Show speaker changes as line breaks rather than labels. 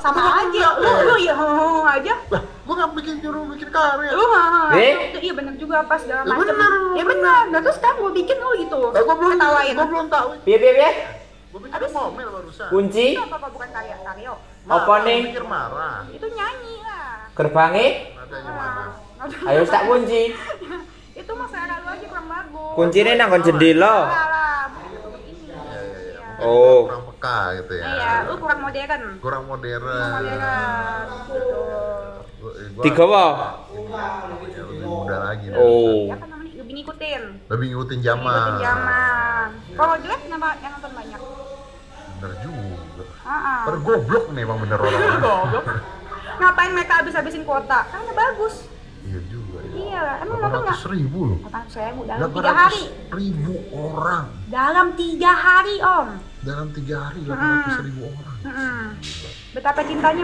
sama aja lu lu ya hoho aja
Lah, gua nggak bikin juru bikin karya.
lu ha
Eh?
iya bener juga pas segala
Ya
macem
bener,
ya bener nah terus sekarang gua bikin lu gitu
Lah, gua belum
ketawain
Gua belum tahu.
Piye piye piye?
Gua bikin ngomel barusan.
Kunci,
itu apa apa Iya, bukan karya karyo
Marah,
apa nih?
Pikir marah.
itu nyanyi lah
gerbange,
Nadanya marah.
Nah,
ayo tak kunci.
itu mah selera lu aja kurang bagus
Kuncine nang kon jendela.
Salah lah
iya,
ini iya
Oh.
Kurang peka gitu ya.
iya lu kurang modern
Kurang modern.
modern Gitu. Betul.
Gua- gua-
Digawa.
Ya, lebih muda lagi. nih.
Oh.
ya kan namanya lebih ngikutin
Lebih ngikutin
lebih
zaman.
ngikutin zaman kalau jelek kenapa yang nonton banyak
Bener juga.
Ah, ah.
Pergoblok nih emang bener orang.
ngapain mereka habis-habisin kuota karena bagus
Iya juga.
Iya lah, emang lo tuh
800 ribu loh.
Apaan saya bu dalam tiga
800
hari
ribu orang
dalam tiga hari om Hmm.
dalam tiga hari 800 ribu orang.
Mm-mm. betapa cintanya